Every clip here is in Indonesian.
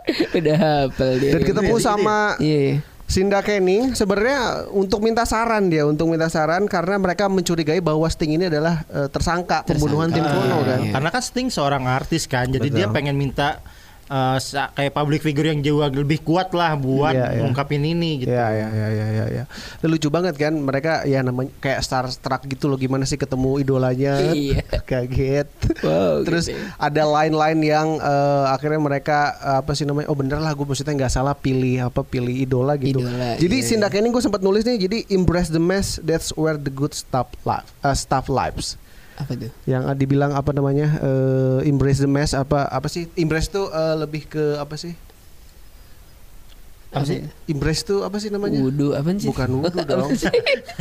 udah hafal dia. dan ketemu sama Iya. iya. Sinda Kenning sebenarnya untuk minta saran dia untuk minta saran karena mereka mencurigai bahwa Sting ini adalah eh, tersangka, pembunuhan Tim Kuno kan. Nah, Karena kan Sting seorang artis kan, jadi dia pengen minta eh, sa- kayak public figure yang jauh lebih kuat lah buat Iya, iya. mengungkapin ini gitu. Ya, ya, ya, ya, ya, ya. Dan lucu banget kan mereka ya namanya kayak Star Trek gitu loh gimana sih ketemu idolanya. Iya. Kaget. Wow, Terus gitu ya. ada lain-lain yang eh, akhirnya mereka eh, apa sih namanya? Oh bener lah gue maksudnya nggak salah pilih apa pilih idola gitu. Idola, jadi iya, Sinda Kenning gue sempat nulis nih jadi embrace the mess that's where the good stuff life eh, stuff lives Apa tuh? yang eh, dibilang apa namanya eh, embrace the mess apa apa sih embrace tuh eh, lebih ke apa sih Apa sih? embrace tuh apa sih namanya Wudu apa sih? bukan wudhu dong apa aja,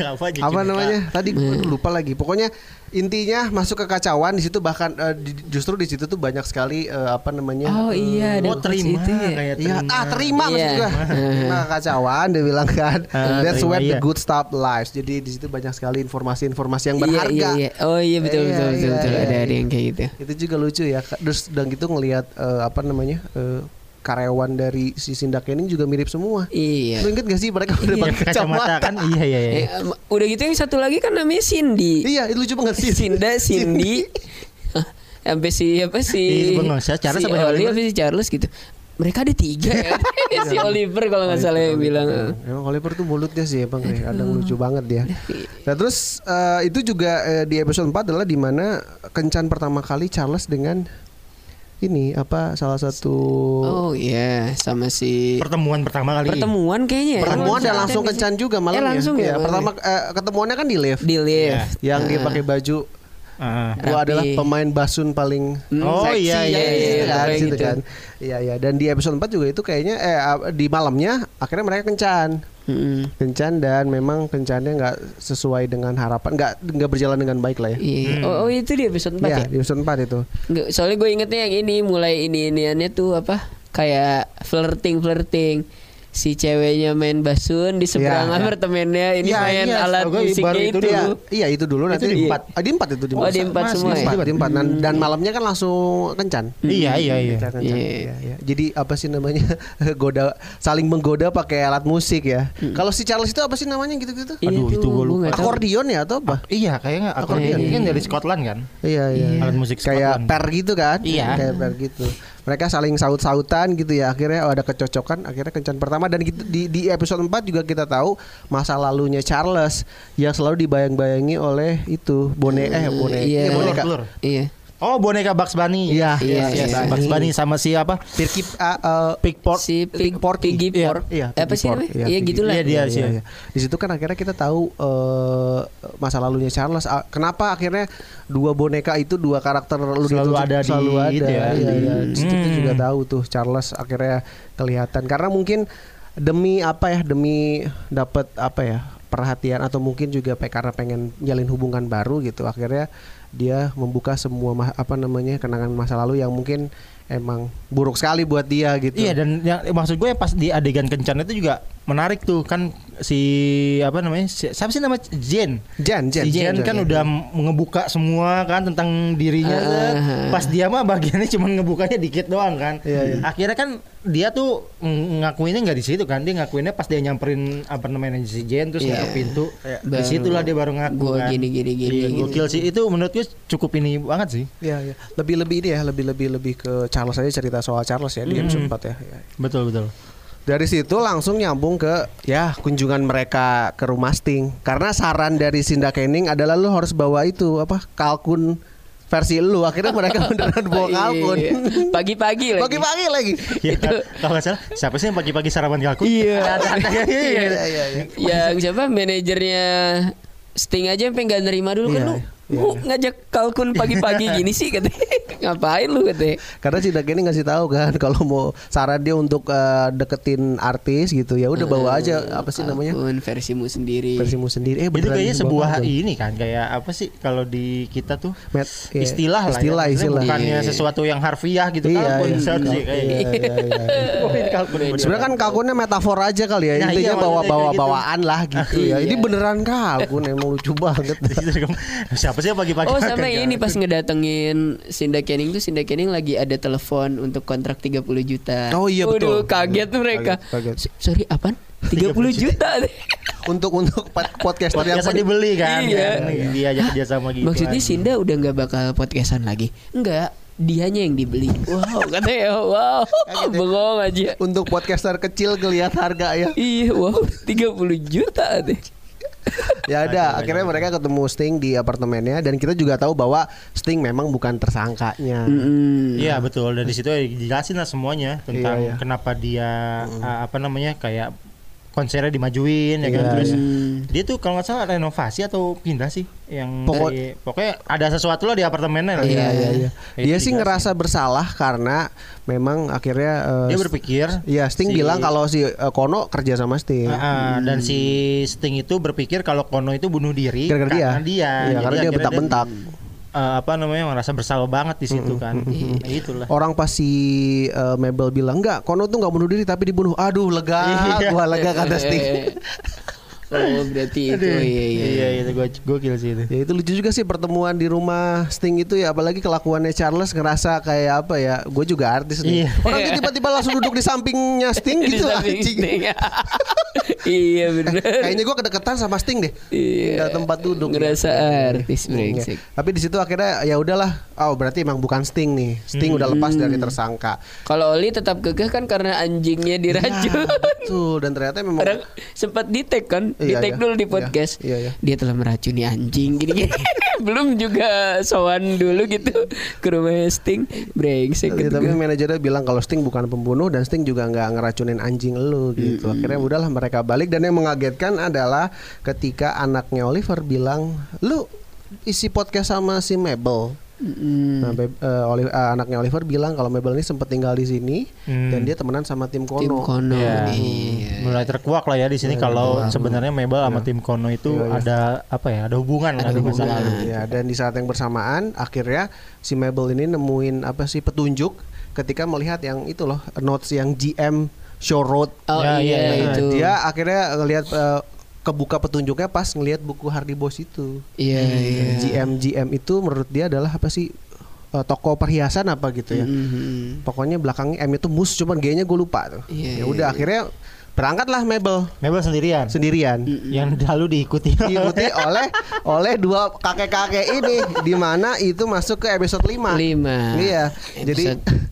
apa Cimika? namanya tadi gue lupa lagi pokoknya intinya masuk kekacauan di situ bahkan eh, di- justru di situ tuh banyak sekali eh, apa namanya Oh iya, Oh ada terima itu ya. kayak Iya, terima. ah terima maksud Iya. gua. Terima kekacauan dia bilang kan. Ah, That's terima, where the iya. good stuff lives. Jadi di situ banyak sekali informasi-informasi yang Iya, berharga. iya, iya. Oh iya betul Iya, betul betul, iya, betul. iya, ada iya. ada yang kayak gitu. Itu juga lucu ya. Kak. Terus dan gitu ngelihat eh, apa namanya? eh, karyawan dari si Sindak ini juga mirip semua. Iya. Lu inget gak sih mereka udah Yang pakai kacamata kan iya iya iya. Eh, em, udah gitu yang satu lagi kan namanya Cindy. Iya, itu lucu banget sih. Cinda, Cindy. Hah, Sampai si apa si Iya, bengong. Si Charles si apa si Oli, Oliver? apa si Charles gitu. Mereka ada tiga ya. si Oliver kalau nggak salah yang bilang. eh. Emang Oliver tuh mulutnya sih emang ya, kadang lucu banget dia. Nah terus eh, itu juga eh, di episode 4 adalah di mana kencan pertama kali Charles dengan ini apa salah satu Oh iya, sama si Pertemuan pertama kali. pertemuan kayaknya. ya. pertemuan dan Pertemuan langsung di- kencan juga malam Eh, langsung ya, malam pertama eh, ketemuannya kan di lift di lift. yang dia Nah. pakai baju Ah. gua Rapi. adalah pemain basun paling Hmm, Oh, seksi. iya, iya, Iya, iya, gitu kan, pokoknya gitu gitu. kan. Iya, iya. Dan di episode 4 juga itu kayaknya eh di malamnya akhirnya mereka kencan. Mm-mm. Kencan dan memang kencannya nggak sesuai dengan harapan, nggak nggak berjalan dengan baik lah ya. Iya. Oh, oh, itu di episode 4 Iya, ya? di episode 4 itu. Nggak, soalnya gue ingetnya yang ini mulai ini iniannya tuh apa? Kayak flirting flirting. Si ceweknya main basun di seberang Iya. apartemennya ini Iya, main iya. Setahu alat gue musiknya baru itu. itu Iya, iya itu dulu nanti di iya. empat. Ah, di 4 itu di Oh, di empat semua ya? Di Hmm. 4, di 4. Dan, dan malamnya kan langsung kencan. Iya iya iya. Kencan, kencan. Iya. Iya, iya. Jadi apa sih namanya? goda saling menggoda pakai alat musik ya. Kalau si Charles itu apa sih namanya gitu-gitu? Aduh, itu gue lupa. Hmm. Iya, nggak tahu. Akordion ya atau apa? Iya kayaknya akordeon Akordeon. kan dari Scotland kan. Iya iya. Alat musik kayak Scotland. per gitu kan? Iya. Kayak per gitu. Mereka saling saut-sautan gitu ya. Akhirnya oh, ada kecocokan. Akhirnya kencan pertama dan gitu- di di episode 4 juga kita tahu masa lalunya Charles yang selalu dibayang-bayangi oleh itu bone eh bone Iya. eh, boneka. Telur, telur. Iya. Oh boneka Bugs Bunny. Iya. Iya, Yes, yes, iya. Bugs Bunny sama si apa? Pirki ah, eh, Pickport. Si Pig, Porky. Piggy Iya, Pork. iya, apa Piggy sih Pork. namanya? Iya, Iya Piggy. gitulah. Iya, dia. Iya, sih. iya, iya. Di situ kan akhirnya kita tahu eh, masa lalunya Charles. Ah, Kenapa akhirnya dua boneka itu dua karakter lalu Selalu itu ada di- selalu ada. ya. Iya, iya. Di situ Hmm. juga tahu tuh Charles akhirnya kelihatan karena mungkin demi apa ya demi dapat apa ya perhatian atau mungkin juga pe- karena pengen jalin hubungan baru gitu akhirnya dia membuka semua ma- apa namanya kenangan masa lalu yang mungkin emang buruk sekali buat dia gitu Iya dan yang eh, maksud gue pas di adegan kencan itu juga menarik tuh kan si apa namanya si, siapa sih nama Jen Jan Jan si Jen kan udah ngebuka semua kan tentang dirinya Ah. set. pas dia mah bagiannya cuma ngebukanya dikit doang kan Iya, iya. akhirnya kan dia tuh ng- ngakuinnya nggak di situ kan dia ngakuinnya pas dia nyamperin apartemennya si Jen terus Iya. ngetok pintu Baru di situlah dia baru ngaku gua kan. gini, gini, gini, Iya, gini. gokil sih itu menurut gue cukup ini banget sih Iya, iya. Lebih lebih ini ya, lebih lebih lebih ke Charles aja cerita soal Charles ya di episode 4 ya. Ya. betul betul Dari situ langsung nyambung ke ya kunjungan mereka ke rumah Sting. Karena saran dari Sinda Kening adalah lu harus bawa itu apa kalkun versi lu. Akhirnya mereka beneran bawa kalkun. Iya. Pagi-pagi lagi. Pagi-pagi lagi. Ya, kalau nggak salah siapa sih yang pagi-pagi sarapan kalkun Iya. Iya, Iya, iya, iya. yang siapa manajernya Sting aja sampai nggak nerima dulu kan Iya, lu. Lu ngajak kalkun pagi-pagi gini sih katanya. Ngapain lu katanya? Karena Sinda Kening ngasih tahu kan kalau mau saran dia untuk eh, deketin artis gitu ya udah bawa aja apa sih namanya? Kalkun versimu sendiri. versimu sendiri. Eh Itu beneran kayaknya bawa sebuah kalkun. ini kan kayak apa sih kalau di kita tuh Met- iya. istilah lah Istilah, ya. Maksudnya istilah. bukannya Iya. sesuatu yang harfiah gitu Iya, kalkun iya. search sih kayak Iya, iya, iya, iya. gitu. Sebenarnya kan kalkunnya metafor aja kali ya. Nah, iya, Intinya maksudnya bawa-bawa kayak gitu. bawaan lah gitu ya. Ini Iya. beneran kalkun emang lucu banget. Gitu siapa sih yang pagi-pagi Oh makan kan? sama kalkun? ini pas ngedatengin Sinda Kening tuh Sinda Kening lagi ada telepon untuk kontrak 30 juta. Oh, iya, Waduh, betul. kaget tuh mereka. Kaget, kaget. S- Sorry apaan? 30 juta. untuk untuk pod- podcaster yang Podcastnya pen- dibeli kan Iya. kan? dia ajak kerja sama gitu Maksudnya sih Sinda udah nggak bakal podcastan lagi. Enggak, dianya yang dibeli. Wow, katanya wow. Bengong aja. untuk podcaster kecil kelihatan harga ya. Iya, wow, 30 juta deh. Ya ada. Akhirnya mereka ketemu Sting di apartemennya dan kita juga tahu bahwa Sting memang bukan tersangkanya. Hmm, Iya betul dan di situ ya dijelasin lah semuanya tentang Iya, iya. kenapa dia uh, apa namanya kayak konsernya dimajuin ya kan Iya, terus iya. dia tuh kalau nggak salah renovasi atau pindah sih yang Pokok- dari- pokoknya ada sesuatu lah di apartemennya lah Iya ya. iya iya. Itu Dia sih dijelasin. ngerasa bersalah karena memang akhirnya eh, dia berpikir Ya, Sting si- bilang kalau si eh, Kono kerja sama Sting. Ah, ah, dan si Sting itu berpikir kalau Kono itu bunuh diri Gara-gara dia. karena dia Iya, Jadi karena dia akhirnya bentak-bentak. eh, apa namanya merasa bersalah banget di situ kan Nah, itulah Orang pas si eh, Mabel bilang enggak, Kono tuh nggak bunuh diri tapi dibunuh. Aduh lega, gua lega kata Sting. Oh, berarti itu gitu. Aduh. iya iya. itu gue gokil sih itu ya itu lucu juga sih pertemuan di rumah Sting itu ya, apalagi kelakuannya Charles ngerasa kayak apa ya, gue juga artis nih. Iya. Orang tuh tiba-tiba langsung duduk di sampingnya Sting Di gitu samping anjing. Sting. iya benar. Kayaknya gue kedekatan sama Sting deh. Iya. Nggak tempat duduk. ya. Ngerasa artis Iya. brengsek. Tapi di situ akhirnya ya udahlah. Oh berarti emang bukan Sting nih. Sting udah lepas Hmm. dari tersangka. Kalau Oli tetap kekeh kan karena anjingnya diracun. Tuh Nah, dan ternyata memang Orang sempat detect kan, Iya, detect iya. dulu di Iya, podcast. iya, iya. Dia telah meracuni anjing gini-gini. Belum juga sowan dulu gitu ke rumah Sting. Brengsek Ya, gitu. tapi manajernya bilang kalau Sting bukan pembunuh dan Sting juga nggak ngeracunin anjing lu gitu. Akhirnya udahlah mereka balik dan yang mengagetkan adalah ketika anaknya Oliver bilang, "Lu isi podcast sama si Mabel." Nah, Beb- eh, Oli- eh, anaknya Oliver bilang kalau Mabel ini sempat tinggal di sini Hmm. dan dia temenan sama tim Kono. Mm. Tim Kono. Ya, Iya. mulai terkuak lah ya di sini kalau sebenarnya Mebel sama tim Kono itu ada apa ya ada hubungan lah ada masalah Nah, Ya, gitu. dan di saat yang bersamaan akhirnya si Mabel ini nemuin apa sih petunjuk ketika melihat yang itu loh notes yang GM Show Road. Oh Ya, iya, iya, iya. itu. Nah, Dia akhirnya ngelihat eh, kebuka petunjuknya pas ngelihat buku Hardy Boys itu. Hmm, Iya iya. GM GM itu menurut dia adalah apa sih eh, toko perhiasan apa gitu ya. Mhm. Pokoknya belakangnya M itu mus cuman G-nya gue lupa tuh. Iya, ya iya, udah iya. akhirnya berangkatlah Mabel Mebel sendirian sendirian. Hmm, yang lalu diikuti Iya, diikuti oleh oleh dua kakek-kakek ini di mana itu masuk ke episode 5. Lima. Iya. Jadi Episode-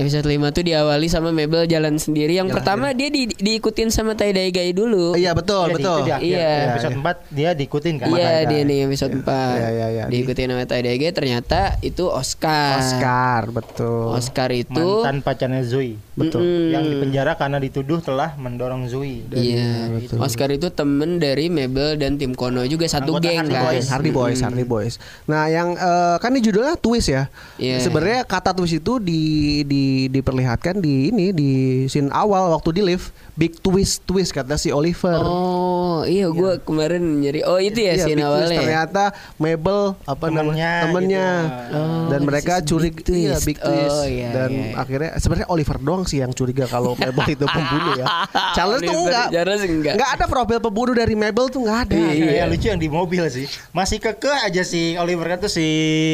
Episode 5 tuh diawali sama Mebel jalan sendiri. Yang pertama dia di- diikutin sama Tai Dai Gai dulu. iya betul, Iya, betul. diikuti di akhir. Iya. episode 4 dia diikutin kan Iya dia nih episode 4 Iya, iya, iya. Diikutin sama Tai Dai Gai ternyata itu Oscar. Oscar, betul. Oscar itu mantan pacarnya Zui Betul. Mm-mm. yang dipenjara karena dituduh telah mendorong Zui Iya, gitu. Oscar itu temen dari Mebel dan tim Kono juga satu Anggota geng Hardy kan. Boys. Hardy Boys, Hardy Boys. Nah, yang eh, kan ini judulnya twist ya. Iya. Sebenarnya kata twist itu di di di diperlihatkan di ini di scene awal waktu di lift big twist twist kata si Oliver. Oh iya gue kemarin nyari Oh itu ya Iya, scene big twist. awalnya ya? Ternyata Mabel apa namanya Temennya temennya gitu. Oh, dan this mereka is curiga big twist. iya, big twist Oh, iya, dan iya, iya. akhirnya sebenarnya Oliver doang sih yang curiga kalau Mabel itu pembunuh ya. Charles tuh Oliver, enggak. Charles enggak. Enggak ada profil pembunuh dari Mabel tuh enggak ada. Iya, yang lucu yang di mobil sih. Masih keke aja si Oliver kan tuh si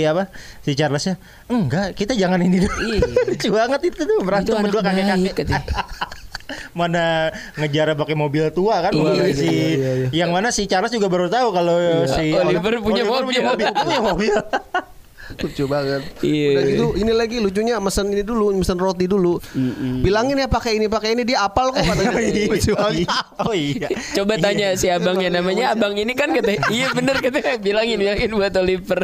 apa? Si Charlesnya. Enggak, kita jangan ini dulu. Iya. lucu banget itu tuh berantem Itu anak berdua kakek-kakek. baik, katanya. mana ngejar pakai mobil tua kan Iya, Wah, iya, si iya, iya. yang mana si Charles juga baru tahu kalau si Oliver punya mobil. punya mobil. lucu banget. Iya. Udah gitu ini lagi lucunya mesen ini dulu, mesen roti dulu. Bilangin ya pakai ini, pakai ini dia apal kok katanya. Iya, lucu banget. oh iya. Coba tanya si abangnya namanya abang ini kan katanya iya bener katanya bilangin bilangin buat Oliver.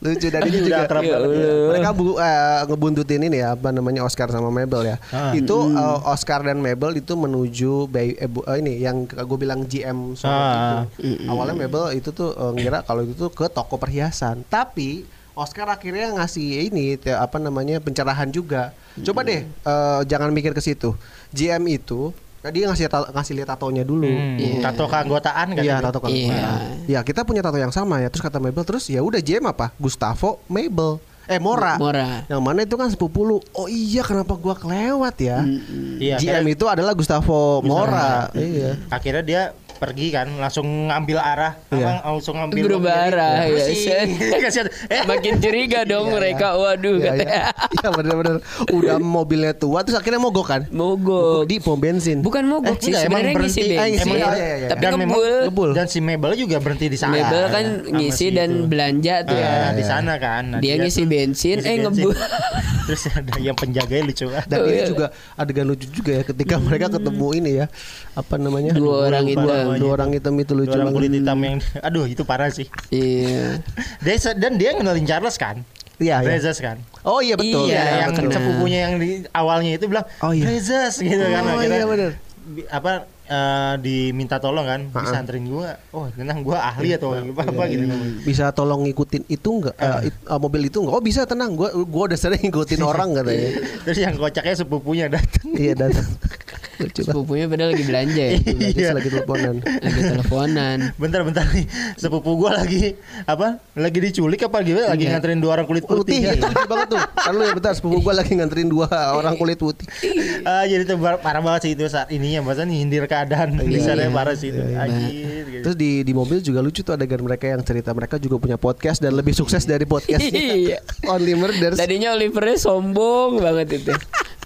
lucu dan ini Udah juga Iya. akrab banget ya. mereka bu, eh, ngebuntutin ini ya apa namanya Oscar sama Mabel ya Ah. itu eh, Oscar dan Mabel itu menuju bay- eh, bu- eh, ini yang gue bilang GM sore Ah. itu awalnya Mabel itu tuh eh, ngira kalau itu tuh ke toko perhiasan tapi Oscar akhirnya ngasih ini te- apa namanya pencerahan juga coba deh eh, jangan mikir ke situ GM itu tadi ngasih ta- ngasih lihat tatonya dulu Hmm, Tato keanggotaan kan? itu? Iya tato kan. Iya. Ya kita punya tato yang sama ya. Terus kata Mabel terus ya udah JM apa? Gustavo Mabel. Eh Mora. Mora. Yang mana itu kan sepupu lu. Oh iya kenapa gua kelewat ya? Iya, GM akhirnya- itu adalah Gustavo Mora. Iya. Gitu. akhirnya dia pergi kan langsung ngambil arah Iya. Apa, langsung ngambil Berubah arah, Apa ya. sih? Kasihan. Eh, Makin curiga dong mereka. Waduh Iya katanya. iya. Iya benar-benar udah mobilnya tua terus akhirnya mogok kan? Mogok. Di pom bensin. Bukan mogok Eh, sih enggak, emang sebenarnya ngisi berhenti. Eh, ngisi, bensin. iya, iya, iya. Tapi Dan memang ngebul. ngebul. dan si Mabel juga berhenti di sana. Mabel kan Sama ngisi si dan itu. belanja tuh ya. Ah, di sana kan. Nah, Dia ngisi tuh bensin, eh, ngebul. Terus ada yang penjaganya lucu. Dan ini iya. juga adegan lucu juga ya ketika mereka ketemu ini ya apa namanya Dua orang Dua- hitam. dua orang hitam itu Dua lucu orang kulit banget. hitam yang aduh itu parah sih. Iya. Dia dan dia ngenalin Charles kan? Iya, Ah, iya. Rezas kan? Oh iya betul. Iya, Iya, yang betul. sepupunya yang di awalnya itu bilang Oh, iya. Rezas gitu kan Oh, akhirnya. iya, bener. bi- apa eh, diminta tolong kan bisa anterin gua oh tenang gua ahli Iya. atau apa apa gitu ngomong. Hmm. bisa tolong ngikutin itu enggak eh, it- eh, mobil itu enggak oh bisa tenang gua gua udah sering ngikutin orang katanya terus yang kocaknya sepupunya datang iya datang lucu banget Sepupunya padahal lagi belanja ya. Belanja Iya. lagi teleponan Lagi teleponan. bentar-bentar nih sepupu gua lagi apa lagi diculik apa gitu lagi Iya. nganterin dua orang kulit putih putih itu lucu banget tuh kan lu ya bentar sepupu gua lagi nganterin dua orang kulit putih Ah, jadi itu bar- parah banget sih itu saat ininya bahasa nyindir keadaan Iya, di sana parah sih itu Anjir, gitu. terus di di mobil juga lucu tuh adegan mereka yang cerita mereka juga punya podcast dan lebih sukses dari podcastnya Iya. Only Murders Tadinya Olivernya sombong banget itu.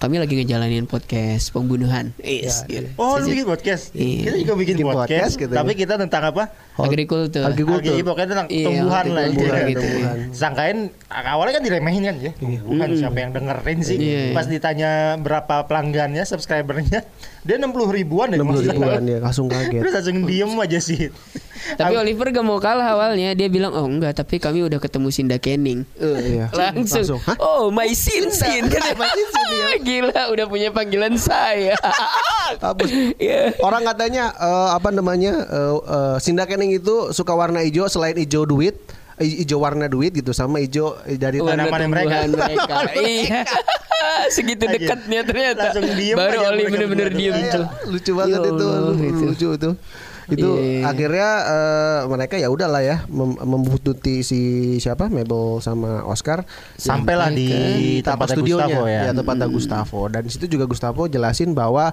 Kami lagi ngejalanin podcast pembunuhan. Yes, gitu. Oh lu bikin podcast? Iya. Kita juga bikin, Bikin podcast, podcast gitu. Tapi kita tentang apa? Agrikultur. agrikultur Agri pokoknya tentang Iya, tumbuhan lah tumbuhan gitu. gitu. Tumbuhan. Sangkain awalnya kan diremehin kan ya. Tumbuhan siapa yang dengerin sih? Iya. Pas ditanya berapa pelanggannya, subscribernya, dia 60 ribuan deh. enam puluh maksudnya. ribuan ya langsung kaget Terus langsung diem aja sih. Tapi Oliver gak mau kalah awalnya Dia bilang oh enggak tapi kami udah ketemu Sinda Kenning Eh, Iya. Langsung, Langsung, "Hah? Oh my Sin Sin Gila udah punya panggilan saya Hapus. Iya. Orang katanya eh, apa namanya eh, eh, Sinda Kening itu suka warna hijau selain hijau duit, i- hijau warna duit gitu sama hijau dari Warna tanah. tanaman mereka. tumbuhan mereka. Iya Segitu Aja. dekatnya ternyata Langsung diem Baru aja Oli mereka bener-bener berdua. diem Iya, tuh lucu banget Ya itu, Allah, lu- itu. lucu itu. Itu Iya. akhirnya eh, mereka ya udahlah ya mem- membuntuti si siapa Mabel sama Oscar Sampailah di tempat tempatnya studionya Gustavo ya. ya tempatnya Hmm. Gustavo dan di situ juga Gustavo jelasin bahwa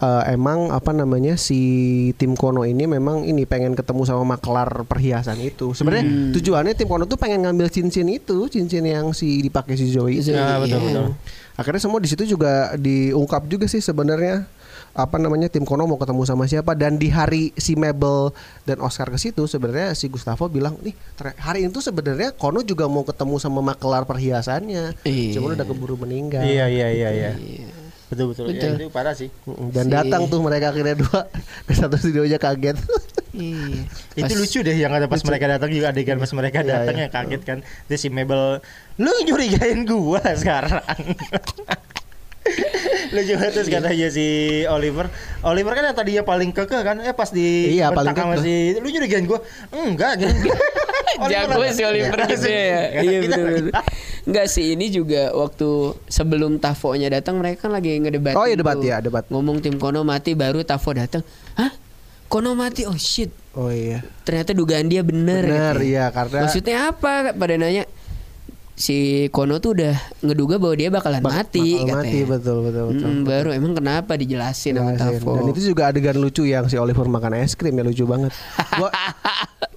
eh, emang apa namanya si tim Kono ini memang ini pengen ketemu sama maklar perhiasan itu sebenarnya Hmm. tujuannya tim Kono tuh pengen ngambil cincin itu cincin yang si dipakai si Zoe itu. Nah, betul Iya. betul. Hmm. akhirnya semua di situ juga diungkap juga sih sebenarnya apa namanya tim Kono mau ketemu sama siapa dan di hari si Mabel dan Oscar ke situ sebenarnya si Gustavo bilang nih ter- hari itu sebenarnya Kono juga mau ketemu sama maklar perhiasannya Iya. cuman udah keburu meninggal Iya iya iya iya. Betul betul. Ya, itu parah sih. Mm-mm. Dan datang tuh mereka akhirnya dua ke satu studionya kaget. Iya. Itu Pas- lucu deh yang ada pas mereka datang juga adegan pas mereka Iya, datang yang iya. kaget kan. Terus si Mabel, lu nyurigain gua sekarang. lu juga terus Iya. katanya si Oliver Oliver kan yang tadinya paling kekeh kan eh pas di Iya, paling bentak sama kekeh. si lu nyurigain gua enggak gitu Jago si Oliver gitu ya. Iya betul. Enggak sih ini juga waktu sebelum Tafonya datang mereka kan lagi ngedebat. Oh, iya, debat, iya, debat. Ngomong tim Kono mati baru Tafo datang. Hah? Kono mati. Oh shit. Oh iya. Ternyata dugaan dia bener. Bener, gitu iya, karena- Maksudnya apa? Pada nanya si Kono tuh udah ngeduga bahwa dia bakalan Bak- mati bakal mati, betul, betul, betul, Mm, betul. Baru emang kenapa dijelasin, sama Jelasin. Tafo. Iya, Dan itu juga adegan lucu yang si Oliver makan es krim ya lucu banget. Gua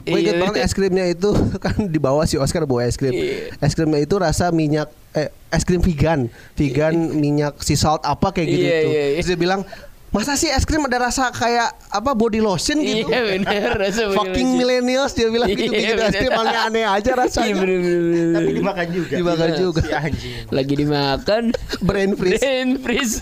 gua inget Iya. banget es krimnya itu kan dibawa si Oscar bawa es krim. Iya. Es krimnya itu rasa minyak eh, es krim vegan, vegan minyak sea salt apa kayak gitu Iya, tuh. iya, iya. Terus dia bilang Masa sih es krim ada rasa kayak apa body lotion gitu? Iya, bener, rasa body lotion. Fucking millennials dia bilang Iya, gitu bikin es bener. krim aneh-aneh aja Iya, rasanya. bener-bener. Tapi dimakan juga. Iya, Dimakan juga. Si anjing. Lagi dimakan Brain freeze. Brain freeze.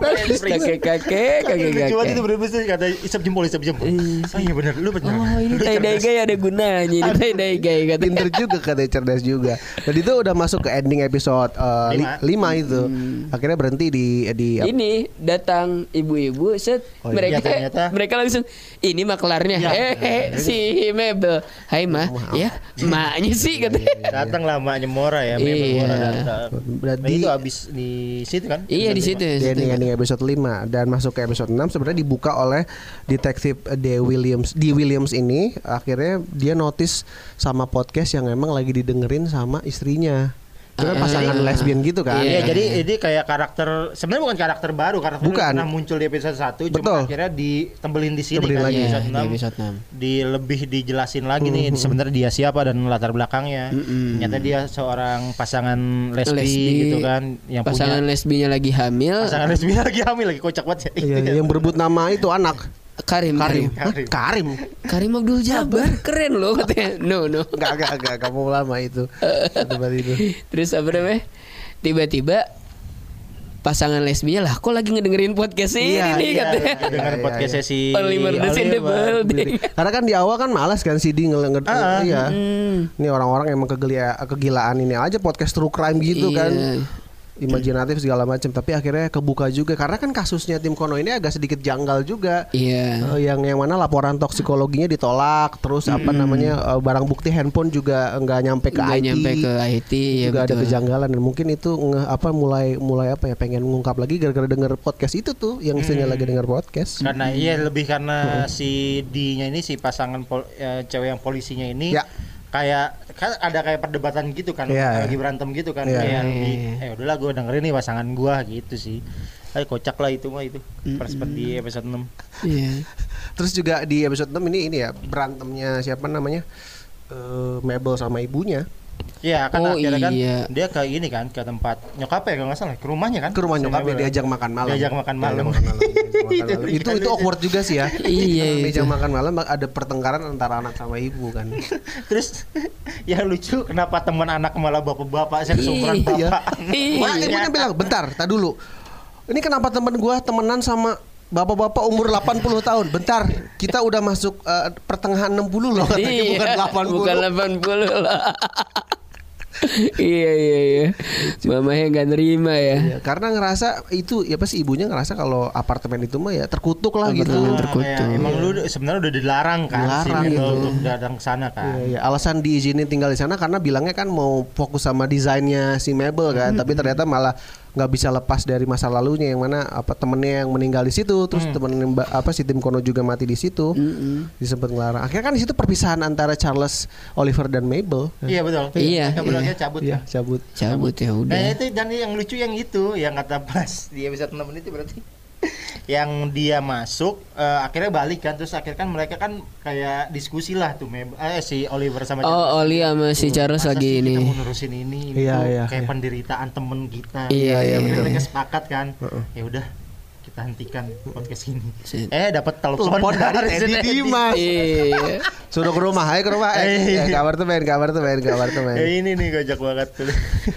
kakek kakek kakek Kakek Cuma itu kakek. bener-bener sih, kata isap jempol isap jempol. Oh iya bener lu bener. Oh ini Lu tai cerdas. daigai ada gunanya ini tai daigai katanya. Pinter juga katanya cerdas juga. Dan itu udah masuk ke ending episode 5 Lima. itu. Hmm. Akhirnya berhenti di di apa- Ini datang ibu-ibu set Oh, iya. mereka Ya, ternyata. mereka langsung ini maklarnya Ya. eh eh, si Mabel hai ma ya maknya sih Iya, katanya Datang lah maknya Mora ya, memang Iya. Mora datang. Berarti- Nah, itu habis di situ kan? iya di situ di di situ. ending, ending episode 5 dan masuk ke episode 6 sebenarnya dibuka oleh detektif D Williams D Williams ini akhirnya dia notice sama podcast yang emang lagi didengerin sama istrinya itu kan Ah. pasangan lesbian gitu kan Iya, Iya. jadi ini kayak karakter sebenarnya bukan karakter baru, karakter yang Bukan. pernah muncul di episode 1 Betul. cuma akhirnya ditembelin di sini Tembelin kan, lagi. di Iya, episode di 6. episode enam. Di lebih dijelasin lagi nih sebenarnya dia siapa dan latar belakangnya. Ternyata dia seorang pasangan lesbi, gitu kan yang pasangan punya lesbinya lagi hamil pasangan lesbi lagi hamil lagi kocak banget ya. Iya, yang berebut nama itu anak Karim Karim Karim Hah, Karim Karim Abdul Jabbar keren loh katanya no no Enggak, enggak, enggak, kamu lama itu Tempat itu Terus apa namanya? Tiba-tiba pasangan lesbinya lah kok lagi ngedengerin podcast ini nih katanya. Dengan iya, ya, podcast iya. sesi Only murders in the building. Karena kan di awal kan malas kan si Ding ngel- ngel- Ah, ah. iya. Hmm. Ini orang-orang emang kegelia- kegilaan ini aja podcast true crime gitu Iya. kan. Imajinatif segala macam, tapi akhirnya kebuka juga karena kan kasusnya tim Kono ini agak sedikit janggal juga. Iya. Eh, yang yang mana laporan toksikologinya ditolak, terus apa namanya eh, barang bukti handphone juga nggak nyampe ke Nggak IT. nyampe ke IT, ya juga ada betul. kejanggalan dan mungkin itu nge- apa mulai mulai apa ya pengen ngungkap lagi gara-gara denger podcast itu Mm. tuh yang istrinya lagi denger podcast. karena iya lebih karena Mm-hmm. si D-nya ini si pasangan pol- eh, cewek yang polisinya ini Ya. kayak kan ada kayak perdebatan gitu kan Iya, lagi iya. berantem gitu kan Iya. kayak Iya, di, iya, eh udahlah gue dengerin nih pasangan gua gitu sih Ay, kocak lah itu mah itu perspektif di episode 6 Iya. Terus juga di episode 6 ini ini ya berantemnya siapa namanya? Eh, Mabel sama ibunya Iya kan Oh, akhirnya kan iya. dia ke ini kan ke tempat nyokapnya kalau nggak salah ke rumahnya kan ke rumah Si nyokapnya Mabel. diajak makan malam. Diajak makan malam. Diajak makan malam. itu itu awkward juga sih ya. Iya, Karena itu. Diajak makan malam ada pertengkaran antara anak sama ibu kan. terus ya lucu kenapa teman anak malah bapak-bapak saya seumuran Iya. bapak Iya. Wah, ibunya bilang, "Bentar, tak dulu. Ini kenapa temen gua temenan sama Bapak-bapak umur 80 tahun. Bentar, kita udah masuk eh, pertengahan 60 loh katanya bukan Iya, 80. Bukan 80 lah. iya iya iya. Mamanya nggak nerima ya. Ya, karena ngerasa itu ya pasti ibunya ngerasa kalau apartemen itu mah ya terkutuk lah gitu. Apartemen Nah, terkutuk. ya, emang lu sebenarnya udah dilarang kan Dilarang si Mabel gitu. untuk datang ke sana kan Iya. Ya, ya, alasan diizinin tinggal di sana karena bilangnya kan mau fokus sama desainnya si Mabel kan, Hmm. tapi ternyata malah nggak bisa lepas dari masa lalunya yang mana apa temennya yang meninggal di situ, terus Hmm. temen Mba- apa si Tim Kono juga mati di situ, disempet ngelarang. Akhirnya kan di situ perpisahan antara Charles Oliver dan Mabel. Iya betul. Iya, Yang benar iya. cabut Iya, kan. cabut. Cabut Eh, ya udah. Nah itu dan yang lucu yang itu yang kata Bas di episode 6 itu ya berarti yang dia masuk eh, akhirnya balik kan terus akhirnya kan mereka kan kayak diskusi lah tuh Mab- eh, si Oliver sama Oh, Oli sama si Charles Masa sih lagi ini. kita mau nerusin ini, ini Iya, tuh iya, kayak iya. penderitaan temen kita Iya, iya, Akhirnya betul. mereka sepakat kan ya udah kita hentikan podcast ini Shit. eh dapat telepon, Telepon dari Teddy Dimas. Iya. Suruh ke rumah, ayo ke rumah, Iya. eh, eh, ke apartemen, ke apartemen, ke apartemen. Eh, ini nih gajak banget tuh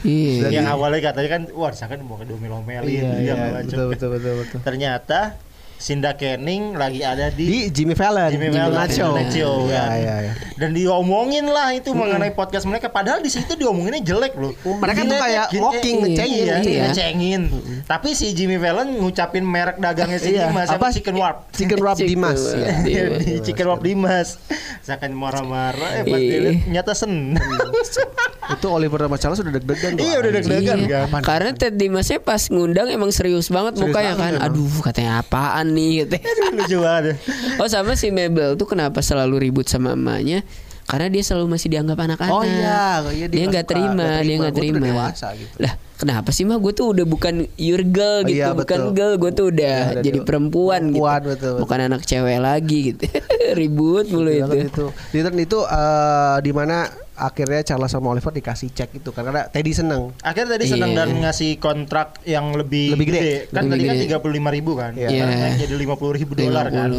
Iya. yang awalnya katanya kan wah disangka kan mau ke domel-omelin Iya, segala iya, macam. betul, betul, betul, betul. ternyata Sinda Kenning lagi ada di, Di Jimmy Fallon, Jimmy Iya, Jimmy Fallon, Nacho. Jimmy Nacho, Iya, kan. iya, iya. dan diomongin lah itu mengenai podcast mereka padahal di situ diomonginnya jelek loh Hmm, Mereka tuh kayak gini- mocking, iya, ngecengin. Hmm. iya, Iya. ngecengin tapi si Jimmy Fallon ngucapin merek dagangnya si Iya, Dimas apa apa? Chicken Warp Chicken Wrap Chicken Dimas. Wrap. ya. Iya, di Chicken Warp Dimas Saya akan marah-marah eh, Iya. padahal nyata sen Hmm. Itu Oliver sama Charles udah deg-degan tuh. iya udah deg-degan Iya. kan Karena Ted Dimasnya pas ngundang emang serius banget Serius mukanya banget kan. emang. Aduh katanya apaan nih katanya. lucu banget Oh sama si Mabel tuh kenapa selalu ribut sama emaknya? Karena dia selalu masih dianggap anak-anak. Oh iya, iya, dia dia nggak nggak suka, terima, nggak dia terima. nggak Gua tuh terima. udah dewasa gitu. Lah kenapa sih mah gue tuh udah bukan your girl Oh, gitu, iya, bukan betul. girl, gue tuh udah Iya, udah jadi dewa- perempuan, perempuan, gitu, betul, betul. bukan anak cewek lagi gitu. ribut mulu Gila itu. kan itu. Di turn itu eh, di dimana akhirnya Charles sama Oliver dikasih cek itu karena Teddy seneng. Akhirnya tadi senang Iya. dan ngasih kontrak yang lebih, Lebih gede. Kan Lebih tadi gede. kan 35 ribu kan Iya. Sekarang naik Jadi 50 ribu dolar kan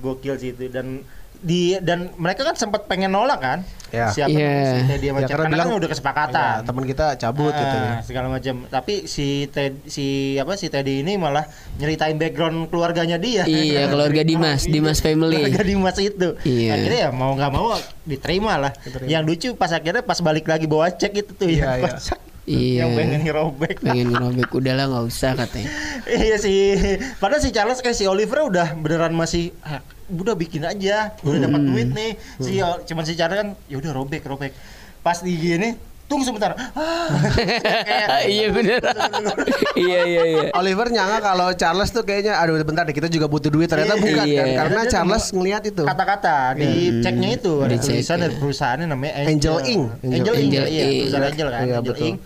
50. Gokil sih itu Dan di dan mereka kan sempat pengen nolak kan Iya. Siapa Iya. si dia macam karena, kan udah kesepakatan Ya, "Iya, teman kita cabut gitu. Ah, segala macam tapi si Ted si apa si Teddy ini malah nyeritain background keluarganya dia Iya, keluarga Dimas, Dimas family. keluarga Dimas itu Iya. akhirnya ya mau nggak mau diterima lah yang lucu pas akhirnya pas balik lagi bawa cek itu tuh Iya, ya iya. kocak. Iya. yang pengen ngerobek Pengen ngerobek udahlah nggak usah katanya. Iya sih. Padahal si Charles kayak si Oliver udah beneran masih "Ah, udah bikin aja, udah dapat Hmm. duit nih. Si cuman si Charles kan ya udah robek robek. Pas di gini, tunggu sebentar. Ah. Kayak- iya bener. iya iya iya. Eh. Oliver nyangka kalau Charles tuh kayaknya aduh bentar deh kita juga butuh duit ternyata Iya. bukan kan Iya. Hmm. karena Dia Charles cuma ngelihat itu. Kata-kata di ceknya itu ada Dicek, tulisan dari ya. perusahaannya namanya Angel Angel, Inc. Angel, Inc. Angel Iya, Inc. perusahaan Angel kan. Iya, Angel betul. Inc.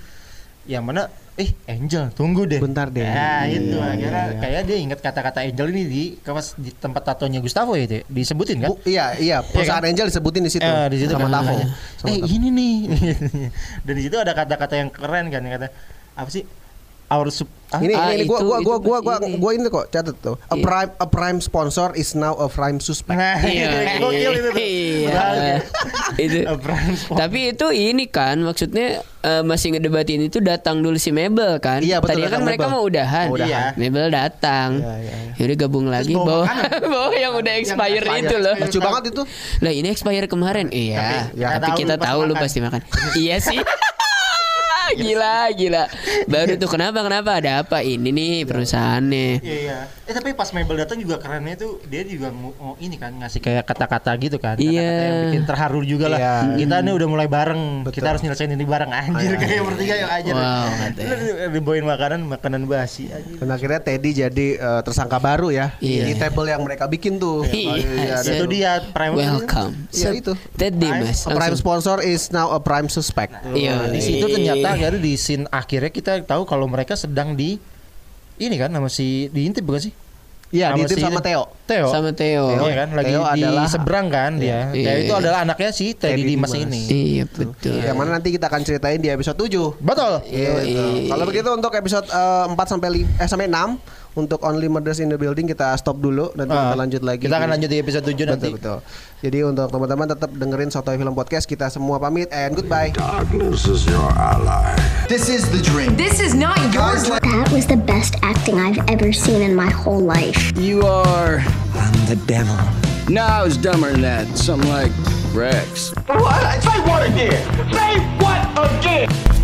Yang mana eh Angel tunggu deh. Bentar deh. Nah, Iya, itu iya, akhirnya iya. kayak dia ingat kata-kata Angel ini di kawas di tempat tatonya Gustavo ya, itu ya, disebutin kan? Bu- iya iya perusahaan kan? Angel disebutin di situ. Eh, di situ sama kan Tavo. katanya, Sama eh Tavo. ini nih. Dan di situ ada kata-kata yang keren kan yang kata apa sih? Our sup ah, Ini, Ah, ini, ini gua, itu- gua, itu Iya. gua, gua, gua, ini. gua ini kok catat tuh. A prime, a prime sponsor is now a prime suspect. Nah, Iya, gokil itu. tuh. iya. Berhasil. Itu. A brand sponsor. Tapi itu ini kan maksudnya eh, masih ngedebatin itu datang dulu si Mabel kan. Iya, betul, Tadinya kan datang mereka Mabel. mau udahan. Mau udahan. Iya. Mabel datang. Iya, iya, iya. Yaudah gabung lagi bawa bawa makanan. Iya. bawa yang udah expire itu loh. Lucu banget itu. Lah ini expire kemarin. Iya. Tapi- ya, tapi tahu kita lu pas tahu lu makan. Iya pasti makan. iya sih. gila, gila. Baru tuh kenapa kenapa ada apa ini nih perusahaannya. Iya, iya. Eh tapi pas Mabel datang juga kerennya itu dia juga mau mau ini kan ngasih kayak kata-kata gitu kan. Kata-kata Iya. yang bikin terharu juga lah. Iya. Kita ini udah mulai bareng. Betul. Kita harus nyelesain ini bareng anjir kayak bertiga yang anjir. Wow, katanya. Lu dibawain makanan makanan basi anjir. Dan akhirnya Teddy jadi eh, tersangka baru ya. Iya. Di table yang mereka bikin tuh. Oh, Iya, ada Itu Sir. dia prime Welcome. Iya, itu. Teddy Mas. A prime langsung. sponsor is now a prime suspect. Iya. Nah, di situ ternyata akhirnya di scene akhirnya kita tahu kalau mereka sedang di ini kan nama si diintip bukan sih? Iya, Nama diintip si- sama Theo. Theo. sama Theo. Iya kan lagi Theo di adalah- seberang kan dia. Iya. Theo itu adalah anaknya si Teddy Teddy Dimas Dimas. ini. Iya betul. Yang mana nanti kita akan ceritain di episode 7. Betul. Iya, itu. Kalau begitu untuk episode eh, 4 sampai lim- eh sampai 6 untuk Only Murders in the Building kita stop dulu nanti Ah, kita lanjut lagi. Kita akan di- lanjut di episode 7 nanti. Betul, betul. Jadi untuk teman-teman tetap dengerin Sotoy Film Podcast kita semua pamit and goodbye. Darkness is your ally. This is the dream. This is not yours. That was the best acting I've ever seen in my whole life. You are. I'm the devil. No, I was dumber than that. Something like Rex. What? Say what again? Say what again?